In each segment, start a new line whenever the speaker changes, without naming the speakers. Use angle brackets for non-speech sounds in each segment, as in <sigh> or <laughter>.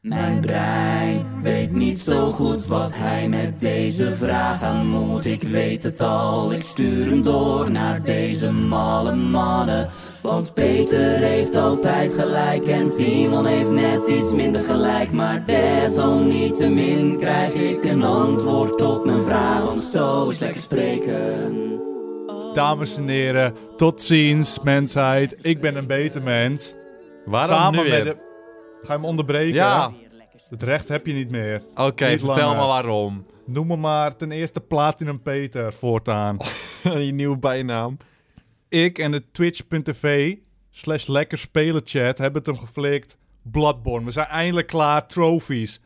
Mijn brein weet niet zo goed wat hij met deze vraag aan moet. Ik weet het al, ik stuur hem door naar deze malle mannen. Want Peter heeft altijd gelijk en Timon heeft net iets minder gelijk. Maar desalniettemin krijg ik een antwoord op mijn vraag. Want zo is lekker spreken.
Dames en heren, tot ziens, mensheid. Ik ben een beter mens.
Waarom
Samen
nu weer?
met de... Ga je hem onderbreken?
Ja,
Het recht heb je niet meer.
oké,
Niet
vertel
langer.
maar
<laughs>
waarom.
Noem me maar ten eerste Platinum Peter voortaan.
Je nieuwe bijnaam.
Ik en de twitch.tv slash lekker spelen chat hebben het hem geflikt. Bloodborne, we zijn eindelijk klaar. Trophies.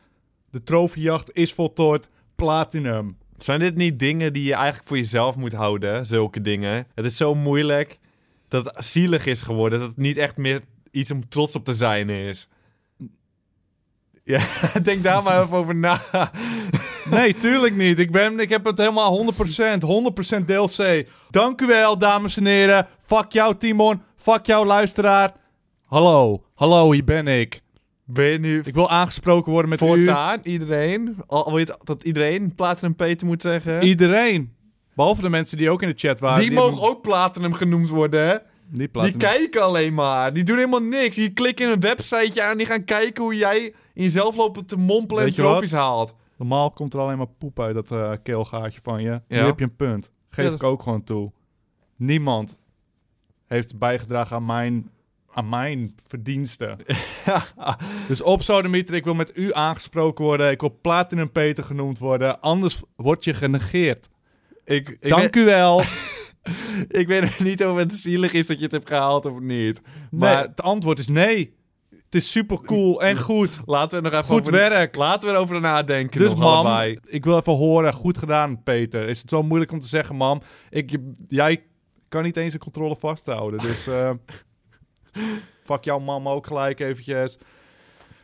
De trofiejacht is voltooid. Platinum.
Zijn dit niet dingen die je eigenlijk voor jezelf moet houden? Zulke dingen. Het is zo moeilijk dat het zielig is geworden. Dat het niet echt meer iets om trots op te zijn is. <laughs> Ja, <laughs> denk daar maar even over na.
Nee, tuurlijk niet. Ik, ben, ik heb het helemaal 100%. 100% DLC. Dank u wel, dames en heren. Fuck jou, Timon. Fuck jou, luisteraar. Hallo. Hallo, hier ben ik.
Ben je nu
Ik wil aangesproken worden met
voortaan iedereen? Al wil je het- dat iedereen Platinum Peter moet
u.
zeggen?
Iedereen. Behalve de mensen die ook in de chat waren.
die mogen ook Platinum genoemd worden, hè?
Die, platinum.
Die kijken alleen maar. Die doen helemaal niks. Die klikken een websiteje aan. Die gaan kijken hoe jij in jezelf loopt te mompelen
Weet je
en
wat?
trofies haalt.
Normaal komt er alleen maar poep uit dat eh, keelgaatje van je. Nu
Ja.
heb je een punt. Geef
Ja, dat-
ik ook gewoon toe. Niemand heeft bijgedragen aan mijn, aan mijn
<laughs>
verdiensten. dus op Sodemieter, ik wil met u aangesproken worden. Ik wil Platinum Peter genoemd worden. Anders word je genegeerd.
Ik, ik,
Dank u wel.
weet, <laughs> ik weet nog niet of het zielig is dat je het hebt gehaald of niet.
Maar
Maar-
het antwoord is nee. Het is super cool en goed.
Laten we er nog even
Goed
over,
werk.
Laten we erover nadenken.
Dus
nog
mam,
allebei.
ik wil even horen. Goed gedaan, Peter. Is het zo moeilijk om te zeggen, mam? Ik, je- jij kan niet eens de controle vasthouden. Dus eh, fuck jouw mam ook gelijk eventjes.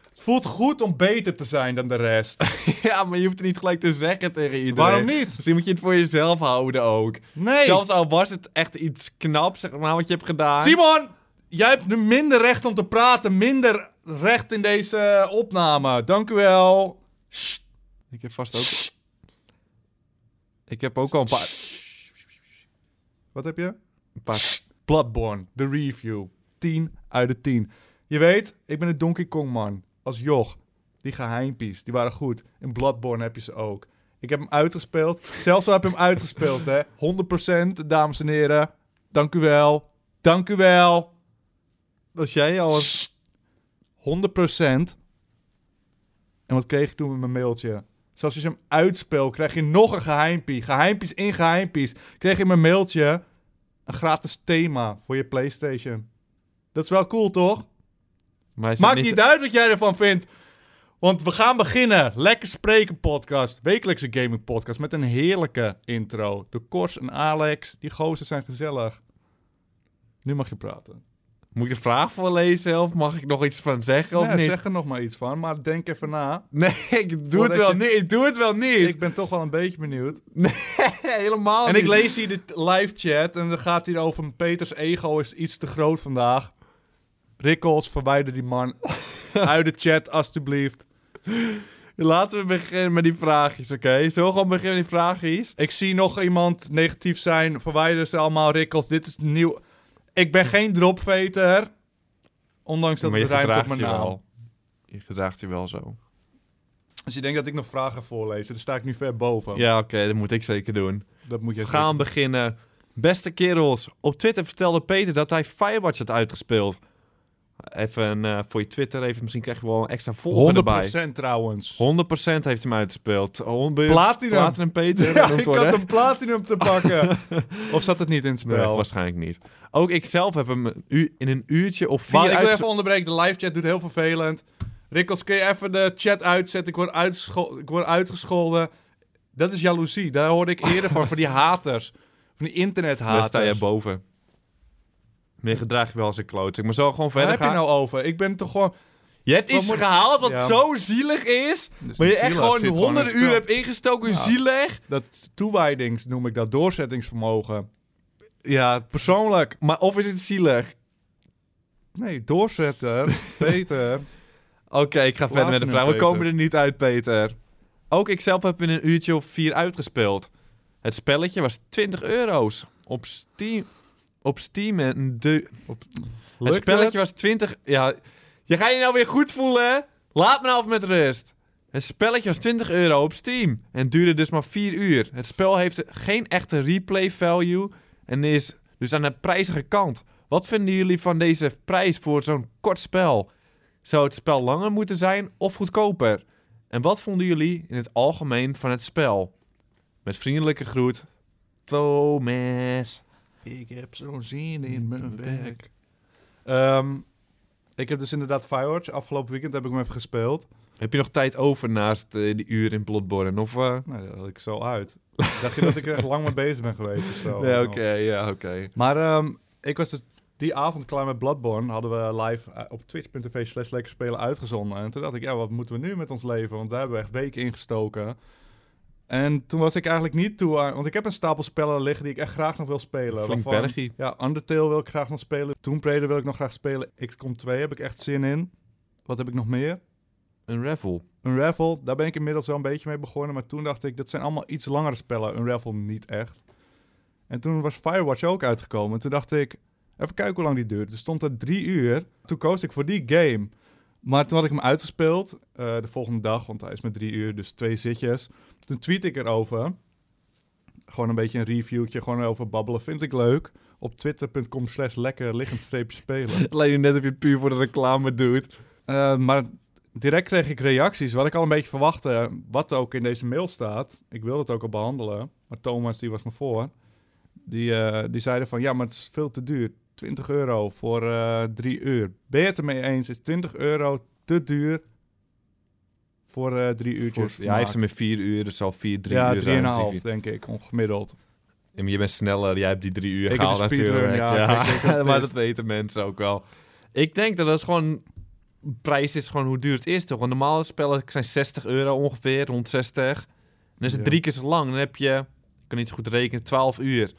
Het voelt goed om beter te zijn dan de rest.
<laughs> ja, maar je hoeft het niet gelijk te zeggen tegen iedereen.
Waarom niet?
Misschien moet je het voor jezelf houden ook.
Nee.
Zelfs al was het echt iets knaps, zeg maar, wat je hebt gedaan.
Simon, jij hebt nu minder recht om te praten. Minder recht in deze eh, opname. Dank u wel. Sst.
Ik heb vast ook... Ik heb ook al een paar...
Wat heb je?
Een paar...
Bloodborne, de review. 10 uit de 10. Je weet, ik ben een Donkey Kong man. Als joch. Die geheimpies, die waren goed. In Bloodborne heb je ze ook. Ik heb hem uitgespeeld. Zelfs al heb ik hem uitgespeeld, hè. 100%, dames en heren. Dank u wel. Dank u wel.
Als jij al...
100%. En wat kreeg ik toen met mijn mailtje? Zelfs als je hem uitspeelt, krijg je nog een geheimpie. Geheimpies in geheimpies. Kreeg je in mijn mailtje een gratis thema voor je PlayStation. Dat is wel cool, toch?
Maar hij zit
Maakt niet uit wat jij ervan vindt. Want we gaan beginnen. Lekker Spreken podcast. Wekelijkse gaming podcast met een heerlijke intro. De Kors en Alex, die gozer zijn gezellig. Nu mag je praten.
Moet ik de vraag voorlezen of mag ik nog iets van zeggen of
Ja,
niet?
zeg er nog maar iets van, maar denk even na.
Nee, <laughs> ik doe
Voordat
het wel
je-
niet. Ik doe het wel niet.
Ik ben toch wel een beetje benieuwd.
Helemaal
En
niet.
ik lees hier de live chat en dan gaat hier over Peters ego is iets te groot vandaag. Rikkels, verwijder die
<laughs>
man uit de chat alstublieft.
Laten we beginnen met die vraagjes, oké? Zullen we gewoon beginnen met die vraagjes?
Ik zie nog iemand negatief zijn. Verwijder ze allemaal, Rikkels. Dit is nieuw. Ik ben geen dropveter. Ondanks dat het ruimt op mijn naam.
Je gedraagt je wel zo.
Als Dus je denkt dat ik nog vragen voorlees, dan sta ik nu ver boven.
Ja, oké, dat moet ik zeker doen.
Dat moet je
We gaan beginnen. Beste kerels, op Twitter vertelde Peter dat hij Firewatch had uitgespeeld. Even eh, voor je Twitter, even, misschien krijg je wel een extra volger erbij.
100% trouwens.
100% heeft hem uitgespeeld. Oh, Hon-
Platinum.
Platinum Peter.
Ja,
genoemd
ik
worden.
had een platinum te
<laughs>
pakken. of zat het niet in het spel?
Nee, waarschijnlijk niet. Ook ik zelf heb hem een u- in een uurtje of vier
Maar ik wil
uitges-
even onderbreken. De live chat doet heel vervelend. Rikkels, kun je even de chat uitzetten? Ik word, uitgescho- ik word uitgescholden. Dat is jaloezie. Daar hoorde ik eerder van. Van die haters. Van die
Daar
internethaters.
sta je boven. Meer gedraag je wel als een kloot. Ik moet zo gewoon
Waar
verder
heb je
gaan.
nou over? Ik ben toch gewoon...
Je hebt
Wat
iets
moet-
gehaald nou- wat Dus
Ja.
zo zielig is.
niet
Maar je
zielig,
echt
het zit
gewoon
gewoon in
honderden
het spel.
uren hebt ingestoken.
Ja.
Zielig.
Dat toewijdings noem ik dat. Doorzettingsvermogen.
Ja,
Persoonlijk.
maar of is het zielig? <laughs>
Nee, doorzetter. Peter.
Oké, ik ga verder
Laten
met de
we
vraag.
hem,
We komen
Peter.
er niet uit, Peter. Ook ikzelf heb in een uurtje of vier uitgespeeld. Het spelletje was 20 euro's. Op Steam... Op Steam en de... Het spelletje was 20... Ja, je gaat je nou weer goed voelen, hè? Laat me nou af met rust. Het spelletje was 20 euro op Steam en duurde dus maar 4 uur. Het spel heeft geen echte replay value en is dus aan de prijzige kant. Wat vinden jullie van deze prijs voor zo'n kort spel? Zou het spel langer moeten zijn of goedkoper? En wat vonden jullie in het algemeen van het spel? Met vriendelijke groet, Thomas.
Ik heb zo'n zin in mijn werk. Ehm, ik heb dus inderdaad Firewatch. Afgelopen weekend heb ik hem even gespeeld.
Heb je nog tijd over naast eh, die uur in Bloodborne? Of, eh?
Nou, dat had ik zo uit. <laughs> Dacht je dat ik er echt lang mee bezig ben geweest of zo?
Ja, oké, ja, oké.
Maar ehm, ik was dus die avond klaar met Bloodborne. Hadden we live eh, op twitch.tv slash lekker spelen uitgezonden. En toen dacht ik, ja, wat moeten we nu met ons leven? Want daar hebben we echt weken in gestoken. En toen was ik eigenlijk niet toe aan... Want ik heb een stapel spellen liggen die ik echt graag nog wil spelen.
Flink
waarvan-
bergie.
Ja, Undertale wil ik graag nog spelen. Tomb Raider wil ik nog graag spelen. XCOM 2 heb ik echt zin in. Wat heb ik nog meer?
Een raffle.
Unravel, daar ben ik inmiddels wel een beetje mee begonnen. Maar toen dacht ik, dat zijn allemaal iets langere spellen. Unravel niet echt. En toen was Firewatch ook uitgekomen. En toen dacht ik, even kijken hoe lang die duurt. Er stond er drie uur. Toen koos ik voor die game. Maar toen had ik hem uitgespeeld. eh, de volgende dag, want hij is met drie uur. Dus twee zitjes. Toen tweet ik erover. Gewoon een beetje een reviewtje. Gewoon over babbelen. Vind ik leuk. Op twitter.com slash lekker liggend streepje
<laughs>
spelen.
Alleen net heb je het puur voor de reclame doet.
Eh, maar direct kreeg ik reacties, wat ik al een beetje verwachtte. eh, Wat ook in deze mail staat. Ik wilde het ook al behandelen. Maar Thomas, die was me voor. Die, eh, die zeiden van, ja, maar het is veel te duur. 20 euro voor eh drie uur. Ben je het ermee eens? Is 20 euro te duur voor eh drie uurtjes?
ja, hij heeft
vermaak?
hem met vier uur, dus al vier, drie
ja,
uur. zijn, drie,
drieënhalf,
vier.
denk ik, ongemiddeld.
Ja, maar je bent sneller, jij hebt die drie uur
Ik heb
gehaald
een speedrun,
natuurlijk.
ja, ik weet wat het
<laughs> maar
is.
dat weten mensen ook wel. Ik denk dat dat gewoon... Prijs is gewoon hoe duur het is, toch? Want normale spellen zijn 60 euro ongeveer, rond 60. Dan is het
Ja.
drie keer zo lang. Dan heb je, ik kan niet zo goed rekenen, 12 uur. En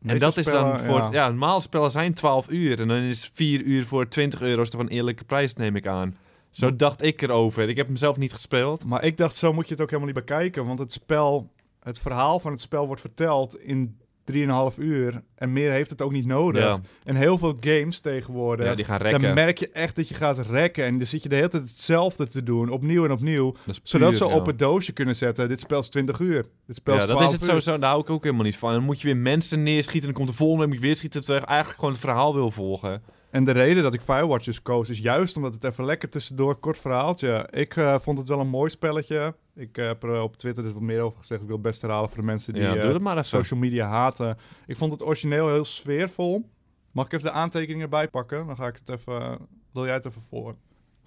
Meeste
dat is dan
spellen,
voor... Ja.
ja.
normale spellen zijn 12 uur. En dan is 4 uur voor 20 euro is toch een eerlijke prijs, neem ik aan. Zo dacht ik erover. Ik heb hem zelf niet gespeeld.
Maar ik dacht, zo moet je het ook helemaal niet bekijken. Want het spel, het verhaal van het spel wordt verteld in 3,5 uur. En meer heeft het ook niet nodig.
Ja.
En heel veel games tegenwoordig.
Ja, die gaan
dan
rekken.
merk je echt dat je gaat rekken. En dan zit je de hele tijd hetzelfde te doen. Opnieuw en opnieuw.
Dat is
Zodat
puur,
ze
ja.
op het doosje kunnen zetten. Dit spel is 20 uur. Dit spel
Ja,
is
dat
12
is
uur.
het sowieso. Daar hou ik ook helemaal niet van. Dan moet je weer mensen neerschieten. Dan komt de volgende. Dan moet je weer schieten. Terwijl je eigenlijk gewoon het verhaal wil volgen.
En de reden dat ik Firewatch dus koos is juist omdat het even lekker tussendoor kort verhaaltje. Ik eh, vond het wel een mooi spelletje. Ik eh, heb er op Twitter dus wat meer over gezegd. Ik wil het best herhalen voor de mensen die
ja,
eh,
doe dat maar even.
social media haten. Ik vond het origineel heel sfeervol. Mag ik even de aantekeningen erbij pakken? Dan ga ik het even. Wil jij het even voor?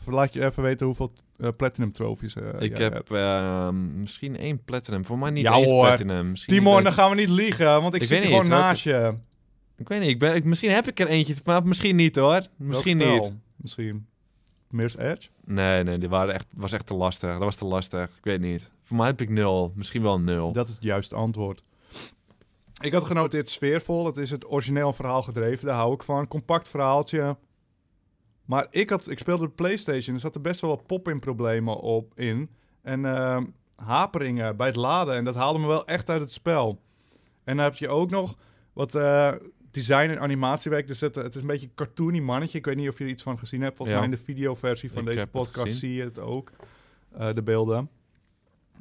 Of laat je even weten hoeveel eh, platinum trofies eh,
ik
jij
heb
hebt.
ehm, misschien één platinum. Voor mij niet
Ja,
eens
hoor.
platinum. Misschien
Timon,
niet
dan
eens-
gaan we niet liegen, want ik,
Ik
zit
weet
hier
niet
gewoon
eens
naast je.
Ik weet niet. Ik ben, ik, misschien heb ik er eentje. Maar misschien niet hoor. Misschien
Welk
niet.
spel? Misschien. Mirror's Edge?
Nee, nee. Die waren echt, was echt te lastig. Dat was te lastig. Ik weet niet. Voor mij heb ik nul. Misschien wel nul.
Dat is het juiste antwoord. Ik had genoteerd sfeervol. Het is het origineel verhaal gedreven. Daar hou ik van. Compact verhaaltje. Maar ik, had, ik speelde op PlayStation. Er zaten best wel wat pop-in problemen op in. En ehm, haperingen bij het laden. En dat haalde me wel echt uit het spel. En dan heb je ook nog wat eh, design en animatiewerk. Dus het, het is een beetje een cartoony mannetje. Ik weet niet of je er iets van gezien hebt. Volgens
Ja.
mij in de videoversie van
Ik
deze
heb het
podcast
gezien.
zie je het ook. eh, de beelden.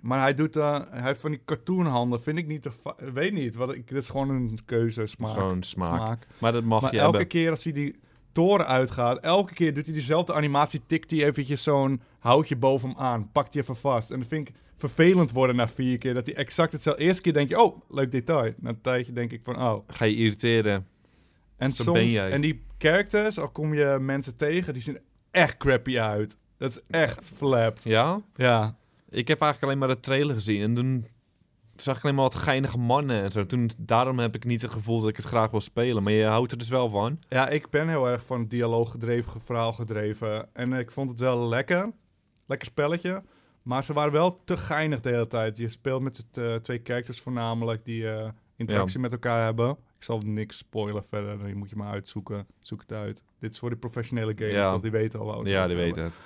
Maar hij, doet, eh, hij heeft van die cartoonhanden. Vind ik niet te... fa- Weet niet. Wat ik, dit is gewoon een keuze,
Het
smaak.
is gewoon smaak.
smaak.
Maar dat mag
Maar
je
elke
hebben.
keer als hij die toren uitgaat, elke keer doet hij diezelfde animatie, tikt hij eventjes zo'n houtje boven hem aan, pakt hij even vast. En dat vind ik vervelend worden na vier keer, dat hij exact hetzelfde... Eerste keer denk je, oh, leuk detail. Na een tijdje denk ik van, oh.
Ga je irriteren.
En,
Zo
soms,
ben jij.
en die characters, al kom je mensen tegen, die zien echt crappy uit. Dat is echt flapped.
Ja?
Ja.
Ik heb eigenlijk alleen maar de trailer gezien. En toen zag ik alleen maar wat geinige mannen en zo. Toen, daarom heb ik niet het gevoel dat ik het graag wil spelen. Maar je houdt er dus wel van.
Ja, ik ben heel erg van dialoog gedreven, ge- verhaal gedreven. En ik vond het wel lekker. Lekker spelletje. Maar ze waren wel te geinig de hele tijd. Je speelt met z'n t- twee characters voornamelijk die eh, interactie met elkaar hebben. Ik zal niks spoilen verder. Je moet je maar uitzoeken. Zoek het uit. Dit is voor de professionele gamers,
Ja.
want die weten al wel.
ja, die weten het.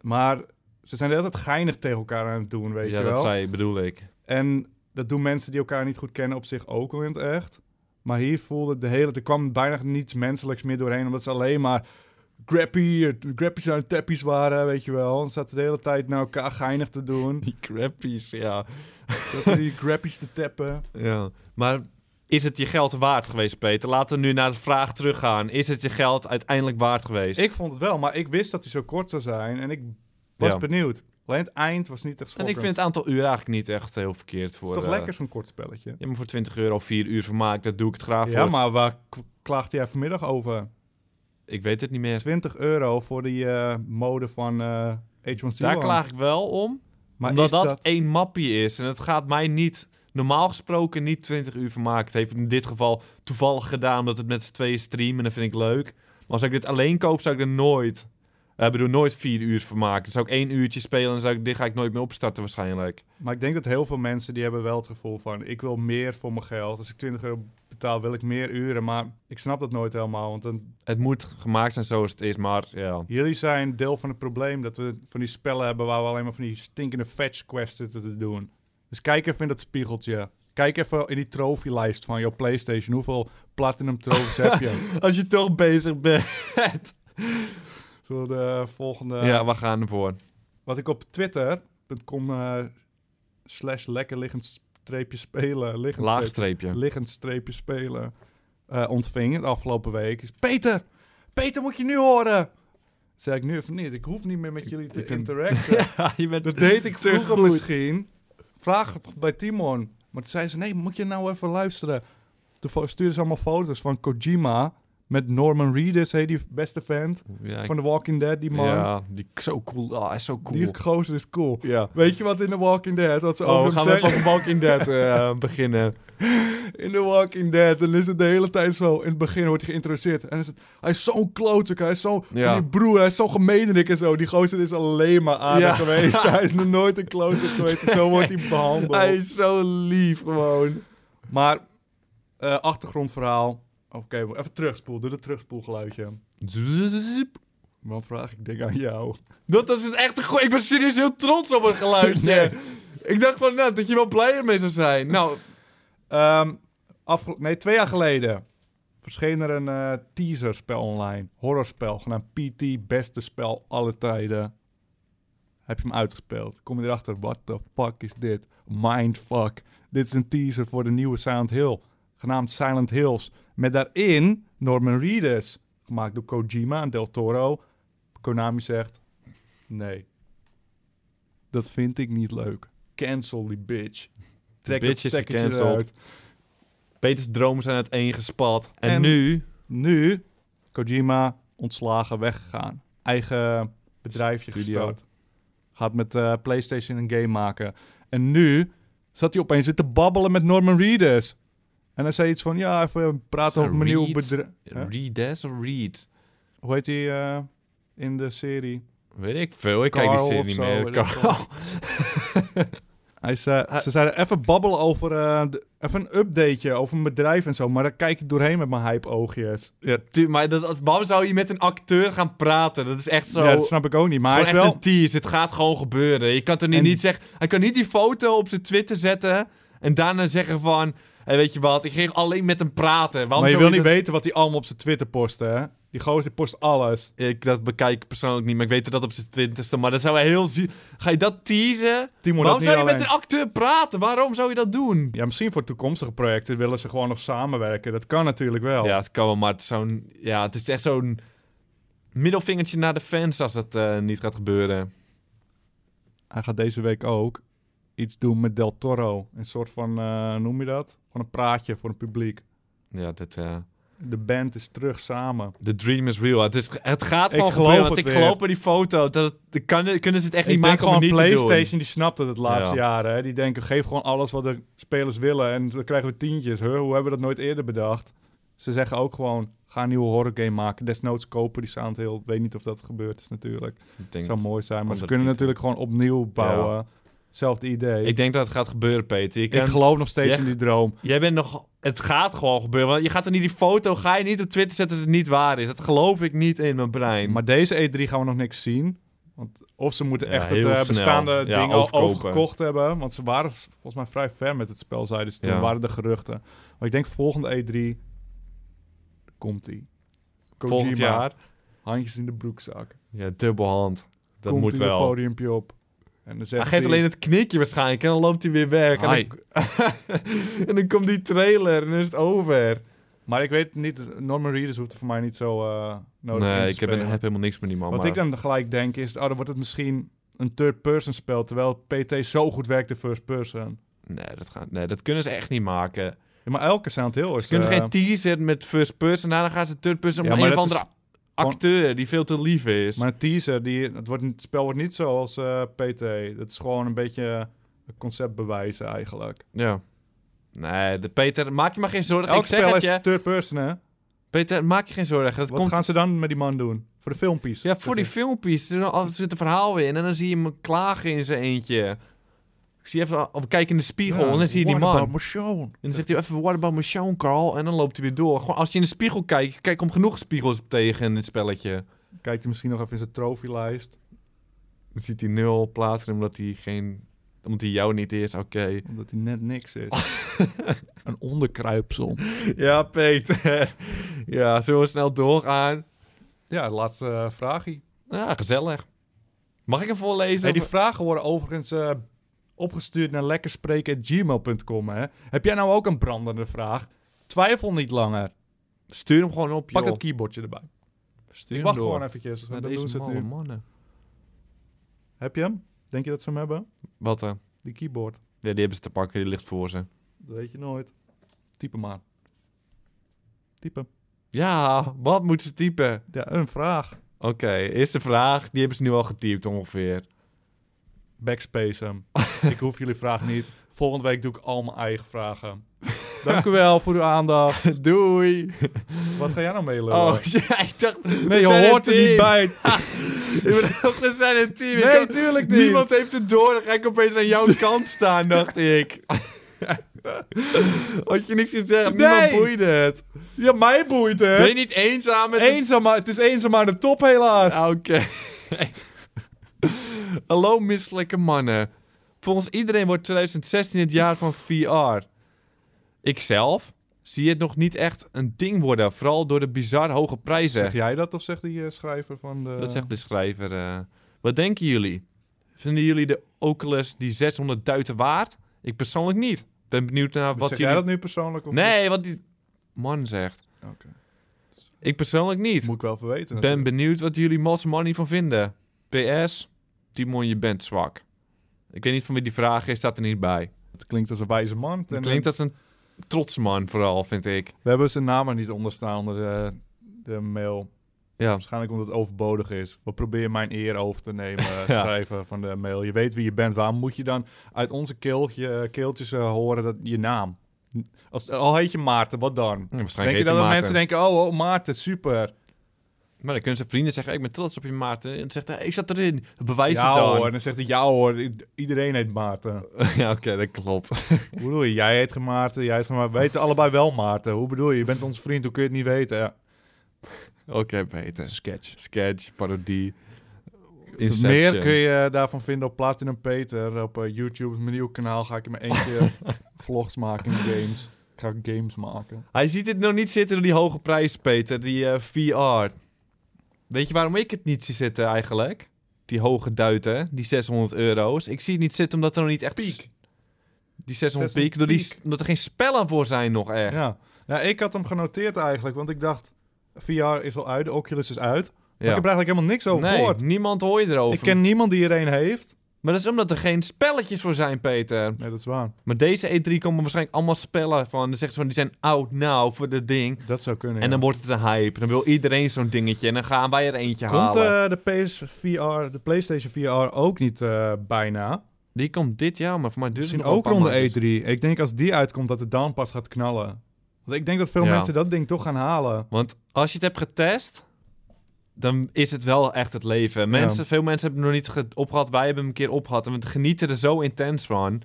Maar ze zijn de hele tijd geinig tegen elkaar aan het doen, weet
ja,
je wel.
dat zei bedoel ik.
En dat doen mensen die elkaar niet goed kennen op zich ook al in het echt. Maar hier voelde het de hele... Er kwam bijna niets menselijks meer doorheen. Omdat ze alleen maar grappy, grappies aan het tappies waren, weet je wel. En zaten de hele tijd naar elkaar geinig te
<laughs>
doen.
Die crappies, ja.
zaten die grappies te tappen.
ja. Maar is het je geld waard geweest, Peter? Laten we nu naar de vraag teruggaan. Is het je geld uiteindelijk waard geweest?
Ik vond het wel, maar ik wist dat hij zo kort zou zijn. En ik was
Ja.
benieuwd. Alleen het eind was niet echt
en ik
schokkend.
vind het aantal uur eigenlijk niet echt heel verkeerd voor...
Het is toch
eh,
lekker zo'n kort spelletje?
Ja, maar voor 20 euro, 4 uur vermaak, dat doe ik het graag
Ja,
voor.
maar waar k- klaagde jij vanmiddag over?
Ik weet het niet meer.
20 euro voor die eh, mode van eh H1Z1.
Daar klaag ik wel om.
maar
omdat
is
dat,
dat...
één mappie is. En het gaat mij niet, normaal gesproken, niet 20 uur vermaken. Het heeft in dit geval toevallig gedaan omdat het met z'n tweeën streamen. En dat vind ik leuk. Maar als ik dit alleen koop, zou ik er nooit... eh, Ik bedoel, nooit vier uur vermaken. Dan zou ik één uurtje spelen en zou ik, dit ga ik nooit meer opstarten waarschijnlijk.
Maar ik denk dat heel veel mensen die hebben wel het gevoel van... ik wil meer voor mijn geld. Als ik 20 euro betaal, wil ik meer uren. Maar ik snap dat nooit helemaal. Want dan,
Het moet gemaakt zijn zoals het is, maar ja.
jullie zijn deel van het probleem... dat we van die spellen hebben waar we alleen maar van die stinkende fetch quests zitten te doen. Dus kijk even in dat spiegeltje. Kijk even in die trofeelijst van jouw PlayStation. Hoeveel platinum trophies heb
<laughs>
je?
Als je toch bezig bent.
Zullen we de volgende...
Ja, we gaan ervoor.
Wat ik op twitter.com eh slash lekker liggend streepje spelen... Liggend streepje-
Laagstreepje.
liggend streepje spelen eh, ontving de afgelopen week. Is, Peter, Peter moet je nu horen. Dat Zei ik nu even niet. Ik hoef niet meer met jullie te
ik ben-
interacten.
<laughs> Ja, je bent
Dat deed ik
te
vroeger
goed.
misschien. Vraag bij Timon. Maar toen zei ze, nee, moet je nou even luisteren. Toen fo- stuurde ze allemaal foto's van Kojima met Norman Reedus, hey, die beste vent
Ja, ik-
van The Walking Dead, die man.
Ja, die zo cool. Ah, hij is zo cool.
Die gozer is cool.
ja.
Weet je wat in The Walking Dead, wat ze
Oh, we
over hem
gaan we
zeggen?
van Walking Dead eh, <laughs> beginnen.
In The Walking Dead, dan is het de hele tijd zo. In het begin wordt hij geïntroduceerd. En dan is het, hij is zo'n klootzak, hij is zo'n
Ja.
die broer, hij is zo'n gemeenerik en zo. Die gozer is alleen maar aardig
Ja.
<laughs> geweest. Hij is nog nooit een klootzak geweest. en Zo wordt hij behandeld.
Hij is zo lief gewoon.
Maar, eh, achtergrondverhaal. Oké, even terugspoel. Doe dat terugspoelgeluidje.
Zzzp.
Dan vraag ik dingen aan jou.
Dat is het echte goeie. Ik ben serieus heel trots op het <laughs> geluidje. Ik dacht van, nou, dat je wel blij ermee zou zijn. Nou,
Ehm, afge- nee, twee jaar geleden verscheen er een eh, teaserspel online. Horrorspel, genaamd PT, beste spel alle tijden. Heb je hem uitgespeeld? Kom je erachter, what the fuck is dit? Mindfuck. Dit is een teaser voor de nieuwe Silent Hill, genaamd Silent Hills. Met daarin Norman Reedus, gemaakt door Kojima en Del Toro. Konami zegt, nee, dat vind ik niet leuk. Cancel die bitch. Trek dat
bitch is
stekkertje
gecanceld.
eruit.
Peters dromen zijn uiteengespat. En,
En-
nu...
Nu, Kojima ontslagen, weggegaan. Eigen bedrijfje
Studio.
gestart. Gaat met eh, PlayStation een game maken. En nu zat hij opeens weer te babbelen met Norman Reedus. En hij zei iets van, ja, even praten
dat
over mijn nieuw
Reed?
bedrijf. Huh?
Read this of read?
Hoe heet hij eh, in de serie?
Weet ik veel. Ik kijk
Carl
die serie
of
niet
zo,
meer.
weet ik
Carl.
Hij zei,
Hij-
ze zeiden even babbelen over, eh, de- even een updateje over mijn bedrijf en zo. Maar daar kijk ik doorheen met mijn hype oogjes.
Ja, tu- maar dat, als- waarom zou je met een acteur gaan praten? Dat is echt zo...
Ja, dat snap ik ook niet. Maar hij
het
is
is gewoon
wel...
echt een tease. Het gaat gewoon gebeuren. Je kan toch niet,
En-
niet zeggen... Hij kan niet die foto op zijn Twitter zetten... en daarna zeggen van... "Hé, weet je wat, ik ging alleen met hem praten. Waarom
maar je
zou
wil niet
dat-
weten wat hij allemaal op zijn Twitter postte, hè? Die gozer post alles.
Ik dat bekijk ik persoonlijk niet, maar ik weet dat op zijn twintigste. Maar dat zou heel... zie- Ga je dat teasen?
Timo, dat
Waarom
niet
zou je
alleen.
met een acteur praten? Waarom zou je dat doen?
Ja, misschien voor toekomstige projecten willen ze gewoon nog samenwerken. Dat kan natuurlijk wel.
Ja, het kan wel, maar het is, zo'n, ja, het is echt zo'n middelvingertje naar de fans als dat eh, niet gaat gebeuren.
Hij gaat deze week ook iets doen met Del Toro. Een soort van, eh, noem je dat? Gewoon een praatje voor het publiek.
Ja, dat... eh,
De band is terug samen.
The dream is real. Het, is, het gaat
Ik geloof
gewoon gebeuren. Want
het
ik
weer.
geloof bij die foto. Dat het, kan, kunnen ze het echt niet
ik denk
maken om
gewoon
het niet
PlayStation,
te
die snapt het het laatste
Ja.
jaren. Hè? Die denken, geef gewoon alles wat de spelers willen en dan krijgen we tientjes. Huh, hoe hebben we dat nooit eerder bedacht? Ze zeggen ook gewoon, ga een nieuwe horror game maken. Desnoods kopen die Sound Hill. Weet niet of dat gebeurd is natuurlijk.
doen. Ik denk,
zou mooi zijn, maar ze
Andere
kunnen
titel.
natuurlijk gewoon opnieuw bouwen. Hetzelfde idee.
ik
Ik,
denk dat het gaat gebeuren, Peter. Je kan-
geloof nog steeds
Ja.
in die droom.
jij bent nog... Het gaat gewoon gebeuren. Want je gaat er niet die foto... Ga je niet op Twitter zetten dat het niet waar is. Dat geloof ik niet in mijn brein.
E Maar deze E3 gaan we nog niks zien. Want of ze moeten
Ja,
echt het
heel
eh,
snel.
bestaande
Ja,
ding al
overkopen.
overgekocht hebben. Want ze waren v- volgens mij vrij ver met het spel, zeiden ze toen.
Ja.
waren de geruchten. Maar ik denk volgende E E3 komt-ie.
Volgend
Kojima,
jaar.
Handjes in de broekzak.
Ja, dubbelhand. Dat
komt
moet
hij
wel.
het podiumpje op. En dan
Hij
zegt
geeft alleen het knikje waarschijnlijk en dan loopt hij weer weg. En
Hi.
dan, <laughs> en dan komt die trailer en dan is het
Nou,
over.
Maar ik weet niet, Norman Reedus hoeft er voor mij niet zo eh nodig in
nee,
te
ik heb,
spelen.
heb helemaal niks met die man.
Wat
maar-
ik dan gelijk denk is, oh, dan wordt het misschien een third-person spel, terwijl PT zo goed werkt in first-person.
nee, dat gaat, nee, dat kunnen ze echt niet maken.
Ja, maar elke Sound Hill is...
Ze kunnen
eh,
geen teaser met first person, daarna gaan ze third person.
Ja,
maar
maar
een of
dat
andere acteur die veel te lief is.
maar een teaser, die, het, wordt, niet- het spel wordt niet zoals eh, PT. Dat is gewoon een beetje een concept bewijzen eigenlijk.
ja. Nee, de Peter, maak je maar geen zorgen.
Elk
ik zeg
spel
het
is
je.
third-person, hè?
Peter, maak je geen zorgen. Het
Wat
komt
gaan ze dan met die man doen? Voor de filmpiece?
Ja, voor die filmpjes. Er zit al- er zit een verhaal in en dan zie je hem klagen in zijn eentje. Ik zie even, al- of kijk in de spiegel en dan zie je die man. En dan zegt hij even, what about my show, Carl? En dan loopt hij weer door. Gewoon, als je in de spiegel kijkt, kijk om genoeg spiegels tegen in het spelletje.
Kijkt hij misschien nog even in zijn trofeelijst,
Dan ziet hij nul plaatsen omdat hij geen... Omdat hij jou niet is, oké.
omdat hij net niks
<laughs>
is. een onderkruipsel.
Ja, Peter. <laughs> Ja, zullen we snel doorgaan?
Ja, laatste eh, vraagje.
Ja, gezellig. Mag ik hem voorlezen?
Hey, die
Of-
vragen worden overigens eh, opgestuurd naar lekkerspreken.gmail.com. hè. Heb jij nou ook een brandende vraag? Twijfel niet langer.
Stuur hem gewoon op,
Pak
joh.
het keyboardje erbij.
Stuur
Ik
hem
wacht
door.
gewoon eventjes.
Naar
dan doen
deze
ze het
malle
nu.
mannen.
Heb je hem? Denk je dat ze hem hebben?
Wat dan?
Die keyboard.
Ja, die hebben ze te pakken, die ligt voor ze.
Dat weet je nooit. Type maar. Type.
Ja, wat moet ze typen?
Ja, een vraag.
Oké, eerste vraag. Die hebben ze nu al getypt ongeveer. <laughs>
Backspace hem. ik hoef jullie vraag niet. Volgende week doe ik al mijn eigen vragen. Dank u wel voor uw aandacht.
Doei.
Wat ga jij nou mee lullen?
Oh, <laughs> ja, ik dacht...
nee, je hoort er niet bij.
Ik bedoel, <laughs> we zijn een team. Ik
Nee,
had-
tuurlijk niet.
Niemand heeft het door. Dan ga ik opeens aan jouw kant staan, dacht ik. <laughs> Had je niks te zeggen? Niemand
Nee.
boeide het.
Ja, mij boeit het.
Ben je niet eenzaam met het-
Eenzaam, maar- het is eenzaam aan de top helaas.
Ah, Oké. <laughs> Hallo misselijke mannen. Volgens iedereen wordt 2016 het jaar van VR. Ikzelf zie het nog niet echt een ding worden, vooral door de bizar hoge prijzen.
zeg jij dat of zegt die eh, schrijver van de...
Dat zegt de schrijver. eh. Wat denken jullie? Vinden jullie de Oculus die 600 duiten waard? Ik persoonlijk niet. Ben benieuwd naar
Dus
wat
zeg
jullie...
jij dat nu persoonlijk? Of
nee, wat die man zegt.
Oké.
Ik persoonlijk niet.
Dat moet ik wel even weten.
ben benieuwd wat jullie Mas Money van vinden. PS, Timon, je bent zwak. Ik weet niet van wie die vraag is, staat er niet bij.
Het klinkt als een wijze man.
Het
En eh,
klinkt als een trotse man vooral, vind ik.
We hebben zijn naam er niet onder staan onder de, de mail.
Ja,
Waarschijnlijk omdat het overbodig is. We proberen mijn eer over te
<laughs>
nemen, schrijven van de mail. Je weet wie je bent. Waarom moet je dan uit onze keeltje, keeltjes eh, horen dat, je naam? Als, al heet je Maarten, wat dan?
waarschijnlijk
Denk je
Mm, heet
dat
hij
de
Maarten.
mensen denken, oh, oh Maarten, super.
Maar dan kunnen zijn vrienden zeggen, ik ben trots op je Maarten. En dan zegt hij, ik zat erin. Bewijs
ja
het dan.
hoor, en dan zegt hij, ja hoor, i- iedereen heet Maarten.
<laughs> ja, oké, dat klopt. <laughs>
Hoe bedoel je? Jij heet geen Maarten, jij heet geen Maarten. We heten allebei wel Maarten. Hoe bedoel je? Je bent onze vriend, hoe kun je het niet weten? Ja.
oké, beter.
Sketch.
Sketch, parodie. Inception.
Meer kun je daarvan vinden op Platinum Peter. Op eh, YouTube, mijn nieuw kanaal, ga ik in mijn eentje
<laughs>
vlogs maken in games. Ik ga games maken.
Hij ziet dit nog niet zitten door die hoge prijs, Peter. Die eh, VR. Weet je waarom ik het niet zie zitten eigenlijk? Die hoge duiten, die 600 euro's. Ik zie het niet zitten omdat er nog niet echt...
Piek.
Die 600 piek,
600
door die,
piek.
s- omdat er geen spellen voor zijn nog echt. Ja.
Ja. ja, ik had hem genoteerd eigenlijk, want ik dacht... VR is al uit, de Oculus is uit. Maar ik heb er eigenlijk helemaal niks over
nee,
gehoord.
niemand hoor je erover.
oh, Ik ken niemand die er een heeft.
Maar dat is omdat er geen spelletjes voor zijn, Peter.
Nee, dat is waar.
Maar deze E3 komen waarschijnlijk allemaal spellen van. Dan zeggen ze van, die zijn out now voor dit ding.
Dat zou kunnen,
En
ja.
dan wordt het een hype. Dan wil iedereen zo'n dingetje. En dan gaan wij er eentje
Komt
halen.
eh, de PSVR, de PlayStation VR ook niet eh, bijna?
Die komt dit jaar, maar voor mij duurt het
Misschien
nog wel
ook
een paar
rond de
maandjes.
E3. Ik denk als die uitkomt dat het dan pas gaat knallen. Want ik denk dat veel
Ja.
mensen dat ding toch gaan halen.
Want als je het hebt getest, dan is het wel echt het leven. Mensen, Veel mensen hebben het nog niet ge- opgehad. Wij hebben hem een keer opgehad. En we genieten er zo intens van.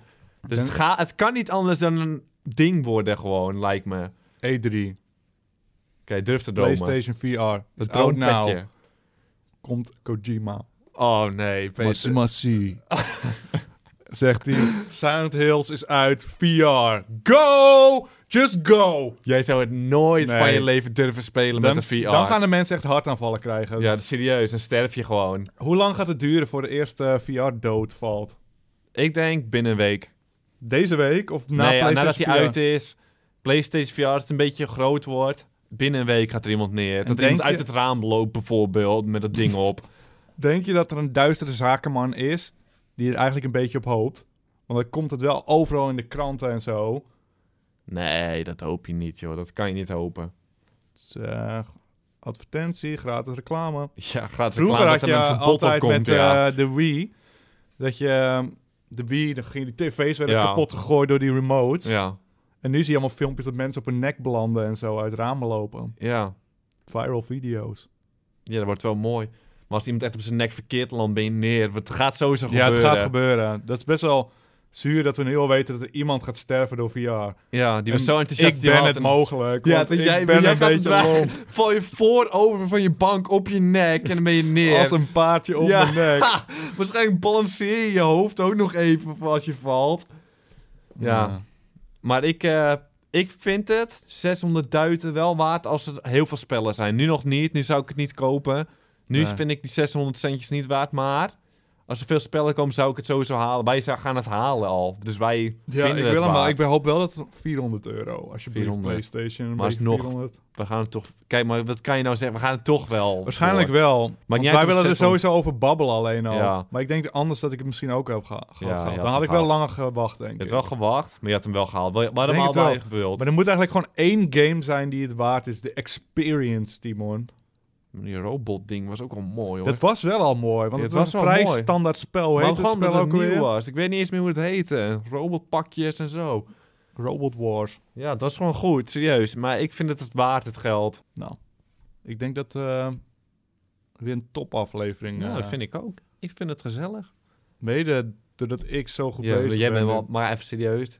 Dus
Ben-
het, ga, het kan niet anders dan een ding worden gewoon, lijkt me. Oké,
E3,
durf te dromen.
E PlayStation Oh, nou. VR.
Het
Het out now.
droompetje.
Komt Kojima.
Oh nee, Peter.
Massi. <laughs> Zegt hij, Sound Hills is uit, VR. Go! Just go!
Jij zou het nooit
Nee.
van je leven durven spelen
Dan,
met de VR.
dan gaan de mensen echt hartaanvallen krijgen.
Ja, serieus, dan sterf je gewoon.
Hoe lang gaat het duren voor de eerste eh, VR-dood valt?
Ik denk binnen een week.
Deze week of na
nee, ja,
PlayStation
nadat hij
VR?
uit is, PlayStation VR als het een beetje groot wordt, binnen een week gaat er iemand neer. Dat er
denk
iemand uit
je-
het raam loopt bijvoorbeeld, met dat ding op. <laughs>
Denk je dat er een duistere zakenman is die er eigenlijk een beetje op hoopt? Want dan komt het wel overal in de kranten en zo.
Nee, dat hoop je niet, joh. Dat kan je niet hopen. <laughs>
Zeg, eh, advertentie, gratis reclame.
Ja, gaat ze
Vroeger
klaar
had
dat er
je
een verbod op
altijd
komt,
met
ja.
eh, de Wii, dat je ehm, de Wii, dan ging die tv's werden
Ja.
kapot gegooid door die remotes.
ja.
En nu zie je allemaal filmpjes dat mensen op hun nek belanden en zo uit ramen lopen.
Ja.
Viral video's.
ja, dat wordt wel mooi. Maar als iemand echt op zijn nek verkeerd landt, ben je neer. Het gaat sowieso
Ja,
gebeuren.
het gaat gebeuren. Dat is best wel zuur dat we nu al weten dat er iemand gaat sterven door VR.
Ja, die was
En
zo enthousiast.
Ik
die
ben
had
het
een-
mogelijk.
Ja,
want
dat
ik
jij,
ben
jij
een
gaat
beetje
dragen.
lomp.
Val je voorover van je bank op je nek en dan ben je
<laughs>
neer.
Als een paardje op
Ja.
mijn nek.
Ha! Waarschijnlijk balanceer je je hoofd ook nog even voor als je valt. Ja. Maar ik, eh, ik vind het 600 duiten wel waard als er heel veel spellen zijn. Nu nog niet, nu zou ik het niet kopen. Nu
Nee.
vind ik die 600 centjes niet waard, maar als er veel spellen komen zou ik het sowieso halen. Wij zou- gaan het halen al, dus wij
Ja,
vinden
ik
het
wil hem wel.
waard.
Ik hoop wel dat het 400 euro. Alsjeblieft,
400.
PlayStation. een
Maar
beetje
alsnog.
400.
We gaan het toch... Kijk, maar wat kan je nou zeggen? We gaan het toch wel.
Waarschijnlijk
voor.
wel. want
niet uit
wij
of
willen er
600
sowieso over babbelen alleen al.
Ja.
Maar ik denk anders dat ik het misschien ook heb geha-
Ja,
gehad.
je had
Dan had
het
ik wel
gehad.
langer gewacht, denk
Je
ik.
hebt wel gewacht, maar je had hem wel gehaald. Wa- Waarom
Denk het
haalde
wel.
hij gewild?
Maar er moet eigenlijk gewoon één game zijn die het waard is. De experience, Timon.
Die robotding was ook wel mooi, hoor.
Dat was wel al mooi, want
Ja,
het
het
was,
was
een
wel
vrij
mooi.
standaard spel. Hoe
maar
heet het
gewoon
spel
dat
ook
het nieuw
weer?
was. Ik weet niet eens meer hoe het heette. Robotpakjes en zo.
Robot Wars.
Ja, dat was gewoon goed, serieus. Maar ik vind het het waard, het geld.
Nou, ik denk dat eh weer een topaflevering.
Ja,
eh,
dat vind ik ook. Ik vind het gezellig.
Mede doordat ik zo goed
Ja,
bezig
jij
ben.
bent wel... Maar even serieus.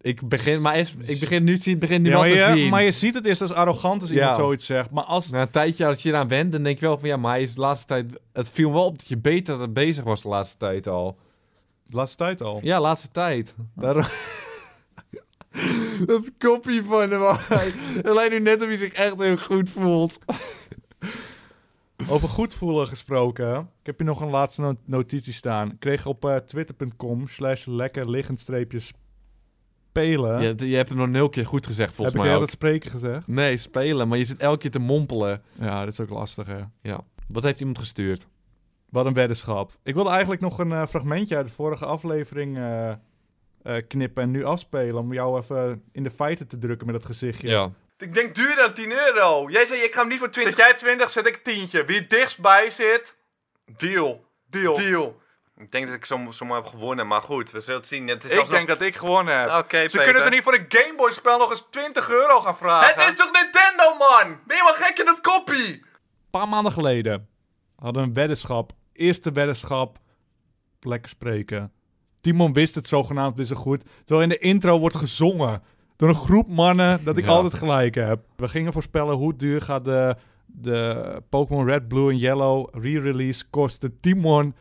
Ik begin, maar eerst, ik begin nu, ik begin nu
Ja,
wel
maar,
te
je,
zien.
maar je ziet het eerst als arrogant als
Ja.
iemand zoiets zegt. Maar als...
Na een tijdje, als je eraan went, dan denk je wel van... Ja, maar hij is de laatste tijd... Het viel me wel op dat je beter bezig was de laatste tijd al.
De laatste tijd al.
Ja, laatste tijd. Daarom... <laughs> dat kopie van hem. <laughs> Het lijkt nu net of hij zich echt heel goed voelt.
Over goed voelen gesproken. Ik heb hier nog een laatste no- notitie staan. Ik kreeg op eh, twitter.com slash lekker liggend streepje spelen.
Je, je hebt hem nog nul keer goed gezegd,
heb
volgens
ik
mij
heel
ook.
dat spreken gezegd?
Nee, spelen, maar je zit elke keer te mompelen.
Ja, dat is ook lastig hè.
Ja. Wat heeft iemand gestuurd?
Wat een weddenschap. Ik wilde eigenlijk nog een eh, fragmentje uit de vorige aflevering eh, eh, knippen en nu afspelen. Om jou even in de feiten te drukken met dat gezichtje.
Ik denk duurder dan 10 euro. Jij zei, ik ga hem niet voor 20
jij 20, zet ik tientje. Wie het dichtstbij zit,
Deal.
deal.
Deal. Ik denk dat ik som- zomaar heb gewonnen, maar goed, we zullen het zien. Het is
Ik
alsnog-
denk dat ik gewonnen heb.
Oké,
Ze
Peter.
kunnen er niet voor een Gameboy-spel nog eens 20 euro gaan vragen.
Het is toch Nintendo, man? Ben je wel gek in dat koppie?
Een paar maanden geleden hadden we een weddenschap. Eerste weddenschap. Lekker spreken. Timon wist het zogenaamd weer zo goed. Terwijl in de intro wordt gezongen door een groep mannen dat ik
Ja.
altijd gelijk heb. We gingen voorspellen hoe duur gaat de, de Pokémon Red, Blue en Yellow re-release kosten. Timon,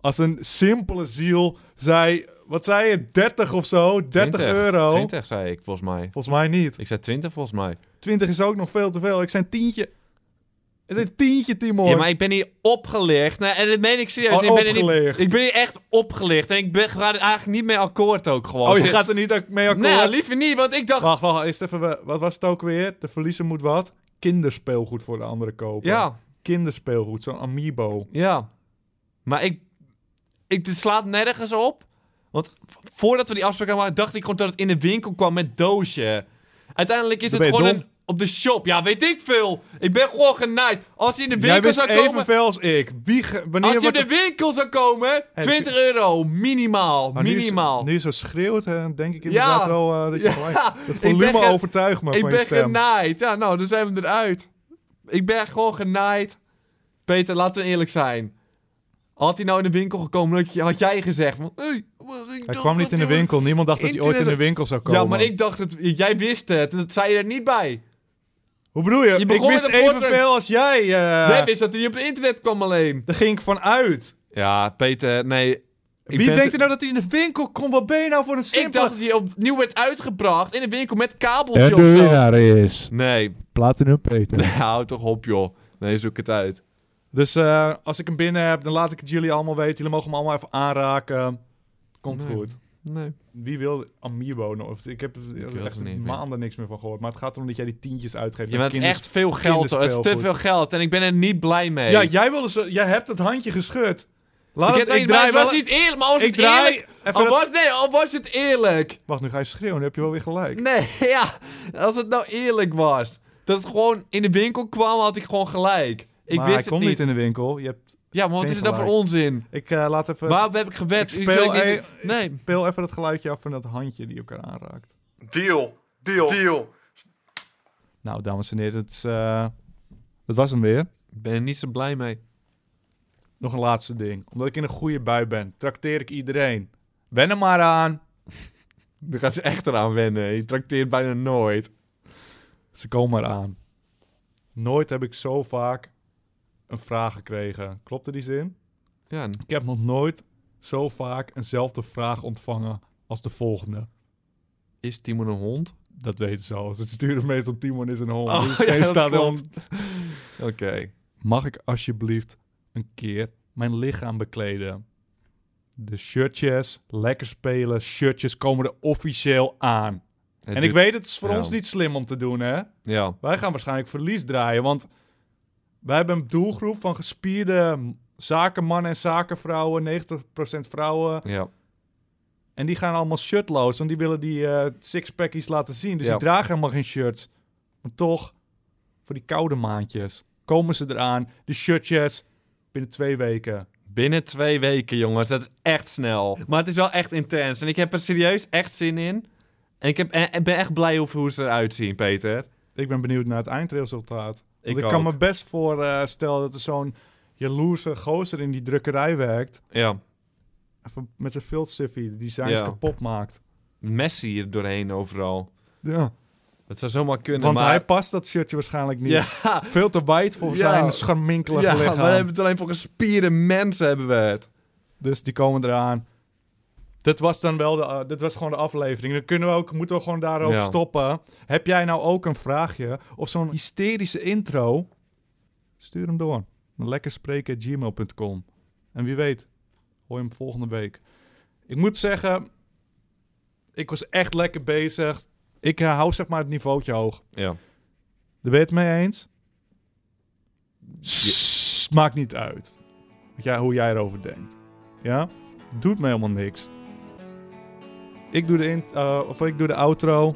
als een simpele ziel, zei... Wat zei je? 30 of zo? 30 euro?
20, zei ik, volgens mij.
Volgens mij niet.
Ik zei 20, volgens mij.
20 is ook nog veel te veel. Ik zei een tientje. Het is een tientje, Timon.
Ja, maar ik ben hier opgelicht. Nou, en dat meen ik serieus.
Oh,
ik, ben hier
opgelicht.
niet, ik ben hier echt opgelicht. En ik ben ga er eigenlijk niet mee akkoord ook gewoon.
Oh, je
Zit-
gaat er niet mee akkoord?
Nee, liever niet, want ik dacht...
Wacht, wacht, eerst even. we- Wat was het ook weer? De verliezer moet wat? Kinderspeelgoed voor de andere kopen.
Ja,
Kinderspeelgoed, zo'n amiibo.
Ja. Maar ik... ik dit slaat nergens op. Want voordat we die afspraak hadden, gemaakt, dacht ik gewoon dat het in de winkel kwam met doosje. Uiteindelijk is
Dan
het
ben je
gewoon
dom.
een, op de shop. Ja, weet ik veel. Ik ben gewoon genaaid. Als hij in de
Jij
winkel
wist
zou komen...
evenveel als ik. Wie ge- wanneer
Als je in
wordt
de winkel zou komen,
Heb
20 euro. Minimaal.
Maar Ah, nu je zo-
minimaal.
Nu je zo schreeuwt, hè, denk ik inderdaad wel eh, dat je
Ja. <laughs>
gelijk... Het
Ik ben
volume
ge-
overtuigt me
ik
van
ben
je stem.
genaaid. Ja, nou, dan zijn we eruit. Ik ben gewoon genaaid. Peter, laten we eerlijk zijn. Had hij nou in de winkel gekomen, had je- had jij gezegd van... Hey, maar ik
Hij
dacht
kwam niet
dat
in de
die-
winkel. Niemand dacht dat hij ooit in de
Internet-
winkel zou komen.
Ja, maar ik dacht het. Jij wist het. en Dat zei je er niet bij.
Hoe bedoel je?
Je begon
ik wist
met een portrait.
evenveel als jij. eh.
Jij wist dat hij op het internet kwam alleen.
Daar ging ik van uit.
Ja, Peter, nee. ik
Wie
ben
denkt
te-
er nou dat hij in de winkel komt? Wat ben je nou voor een
Ik
simpele...
dacht dat hij opnieuw werd uitgebracht in de winkel met kabeltje
En de
of zo.
nou.
winnaar is...
Nee, <laughs>
Platinum Peter.
hou toch op joh. Nee, zoek het uit.
Dus eh, als ik hem binnen heb, dan laat ik het jullie allemaal weten. Jullie mogen hem allemaal even aanraken. Komt
Nee.
goed.
Nee.
Wie wil Amiibo nog? Of- Ik heb er
wil het
echt
niet, vind ik.
maanden niks meer van gehoord. Maar het gaat erom dat jij die tientjes uitgeeft.
Ja,
aan
maar het is
kinders-
echt veel geld hoor. Het is te
kinderspeelgoed.
veel geld en ik ben er niet blij mee.
Ja, jij, wilde ze, jij hebt het handje geschud. Laat
ik
het,
heb
ik
niet- maar
draai
het was
wel-
niet eerlijk, maar was
Ik
het
draai
eerlijk? Oh,
even
Al
dat-
was, nee, al was het eerlijk.
Wacht, nu ga je schreeuwen. Nu heb je wel weer gelijk.
Nee, <laughs> ja. Als het nou eerlijk was. Dat het gewoon in de winkel kwam, had ik gewoon gelijk. Ik
maar
wist
hij komt
het
niet.
niet.
in de winkel. Je hebt,
Ja, maar wat
Geen
is het dan voor
gelijk.
onzin?
ik eh, laat even...
Waarom heb ik gewet?
ik
U
speel,
zei
eh,
niet- Nee.
Speel even dat geluidje af van dat handje die elkaar aanraakt.
Deal. Deal. Deal.
Nou, dames en heren, het is, eh, dat was hem weer.
Ik ben er niet zo blij mee.
Nog een laatste ding. Omdat ik in een goede bui ben, trakteer ik iedereen. Wen er maar aan.
Daar gaan ze echt eraan wennen. Je trakteert bijna nooit.
Ze komen maar aan. Nooit heb ik zo vaak een vraag gekregen. Klopte die zin?
Ja, n-
Ik heb nog nooit zo vaak eenzelfde vraag ontvangen als de volgende.
is Timon een hond?
Dat weten ze al. Ze sturen meestal Timon is een hond. Dus
Oh,
Dit is
ja,
geen
dat
stadion.
klopt. Oké.
Mag ik alsjeblieft een keer mijn lichaam bekleden? De shirtjes, lekker spelen, shirtjes komen er officieel aan.
Het
en
duurt-
ik weet, het is voor
ja.
ons niet slim om te doen, hè?
Ja.
Wij gaan waarschijnlijk verlies draaien, want wij hebben een doelgroep van gespierde m- zakenmannen en zakenvrouwen, 90% vrouwen.
Ja.
En die gaan allemaal shirtloos, want die willen die eh sixpackies laten zien. Dus
Ja.
die dragen helemaal geen shirts. Maar toch, voor die koude maandjes komen ze eraan. De shirtjes binnen twee weken.
Binnen twee weken, jongens. Dat is echt snel. Maar het is wel echt intens. En ik heb er serieus echt zin in. En ik heb, en, en ben echt blij over hoe ze eruit zien, Peter.
Ik ben benieuwd naar het eindresultaat. Want
Ik
ik kan
ook.
me best voorstellen dat er zo'n jaloerse gozer in die drukkerij werkt.
Ja.
Even met zijn filtsiffie, die zijn
Ja.
kapot maakt.
Messi er doorheen overal.
Ja.
Dat zou zomaar kunnen,
Want
maar...
hij past dat shirtje waarschijnlijk niet.
Ja,
Veel te wijd voor
Ja.
zijn scharminkelige
ja we
lichaam.
hebben het alleen voor gespierde mensen hebben we het.
Dus die komen eraan. Dit was dan wel de, eh, dit was gewoon de aflevering. Dan kunnen we ook, moeten we gewoon daarop
Ja.
stoppen. Heb jij nou ook een vraagje of zo'n hysterische intro? Stuur hem door. Lekker spreken gmail.com. En wie weet, hoor je hem volgende week. Ik moet zeggen, ik was echt lekker bezig. Ik eh, hou zeg maar het niveautje hoog.
Ja.
Daar ben je het mee eens? Sst, Maakt niet uit. Wat jij, hoe jij erover denkt. Ja? Doet me helemaal niks. Ik doe de, in, eh, of ik doe de outro.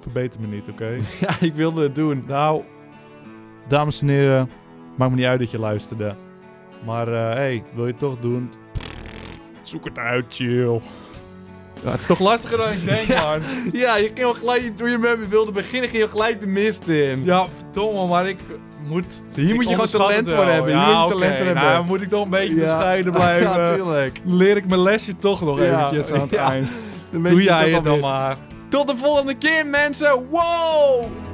Verbeter me niet, oké?
<laughs>
<laughs>
ja, ik wilde het doen.
nou, dames en heren. Maakt me niet uit dat je luisterde. Maar eh hey, wil je het toch doen? Zoek het uit, chill. Ja, het is toch lastiger dan ik denk, <laughs> man.
Ja, je ging al gelijk, toen je met me wilde beginnen, ging je gelijk de mist in.
Ja, verdomme, maar ik moet...
Hier moet je gewoon talent voor hebben. Hier moet je talent voor hebben.
Nou, moet ik toch een beetje
<laughs> Ja.
bescheiden blijven.
Ja, tuurlijk.
Leer ik mijn lesje toch nog
Ja,
eventjes aan het
ja.
eind.
Dan weet
Doe
je
jij
toch
het dan
alweer.
maar.
Tot de volgende keer, mensen. Wow!